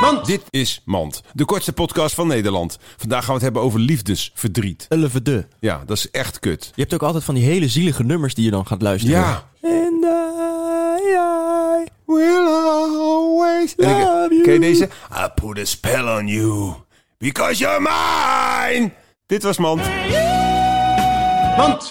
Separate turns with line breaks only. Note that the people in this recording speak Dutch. Mand. Dit is Mand, de kortste podcast van Nederland. Vandaag gaan we het hebben over liefdesverdriet.
Elevede.
Ja, dat is echt kut.
Je hebt ook altijd van die hele zielige nummers die je dan gaat luisteren.
Ja.
And I, I will always
En ik-
love you.
ken je deze? I put a spell on you, because you're mine. Dit was Mand.
Mand.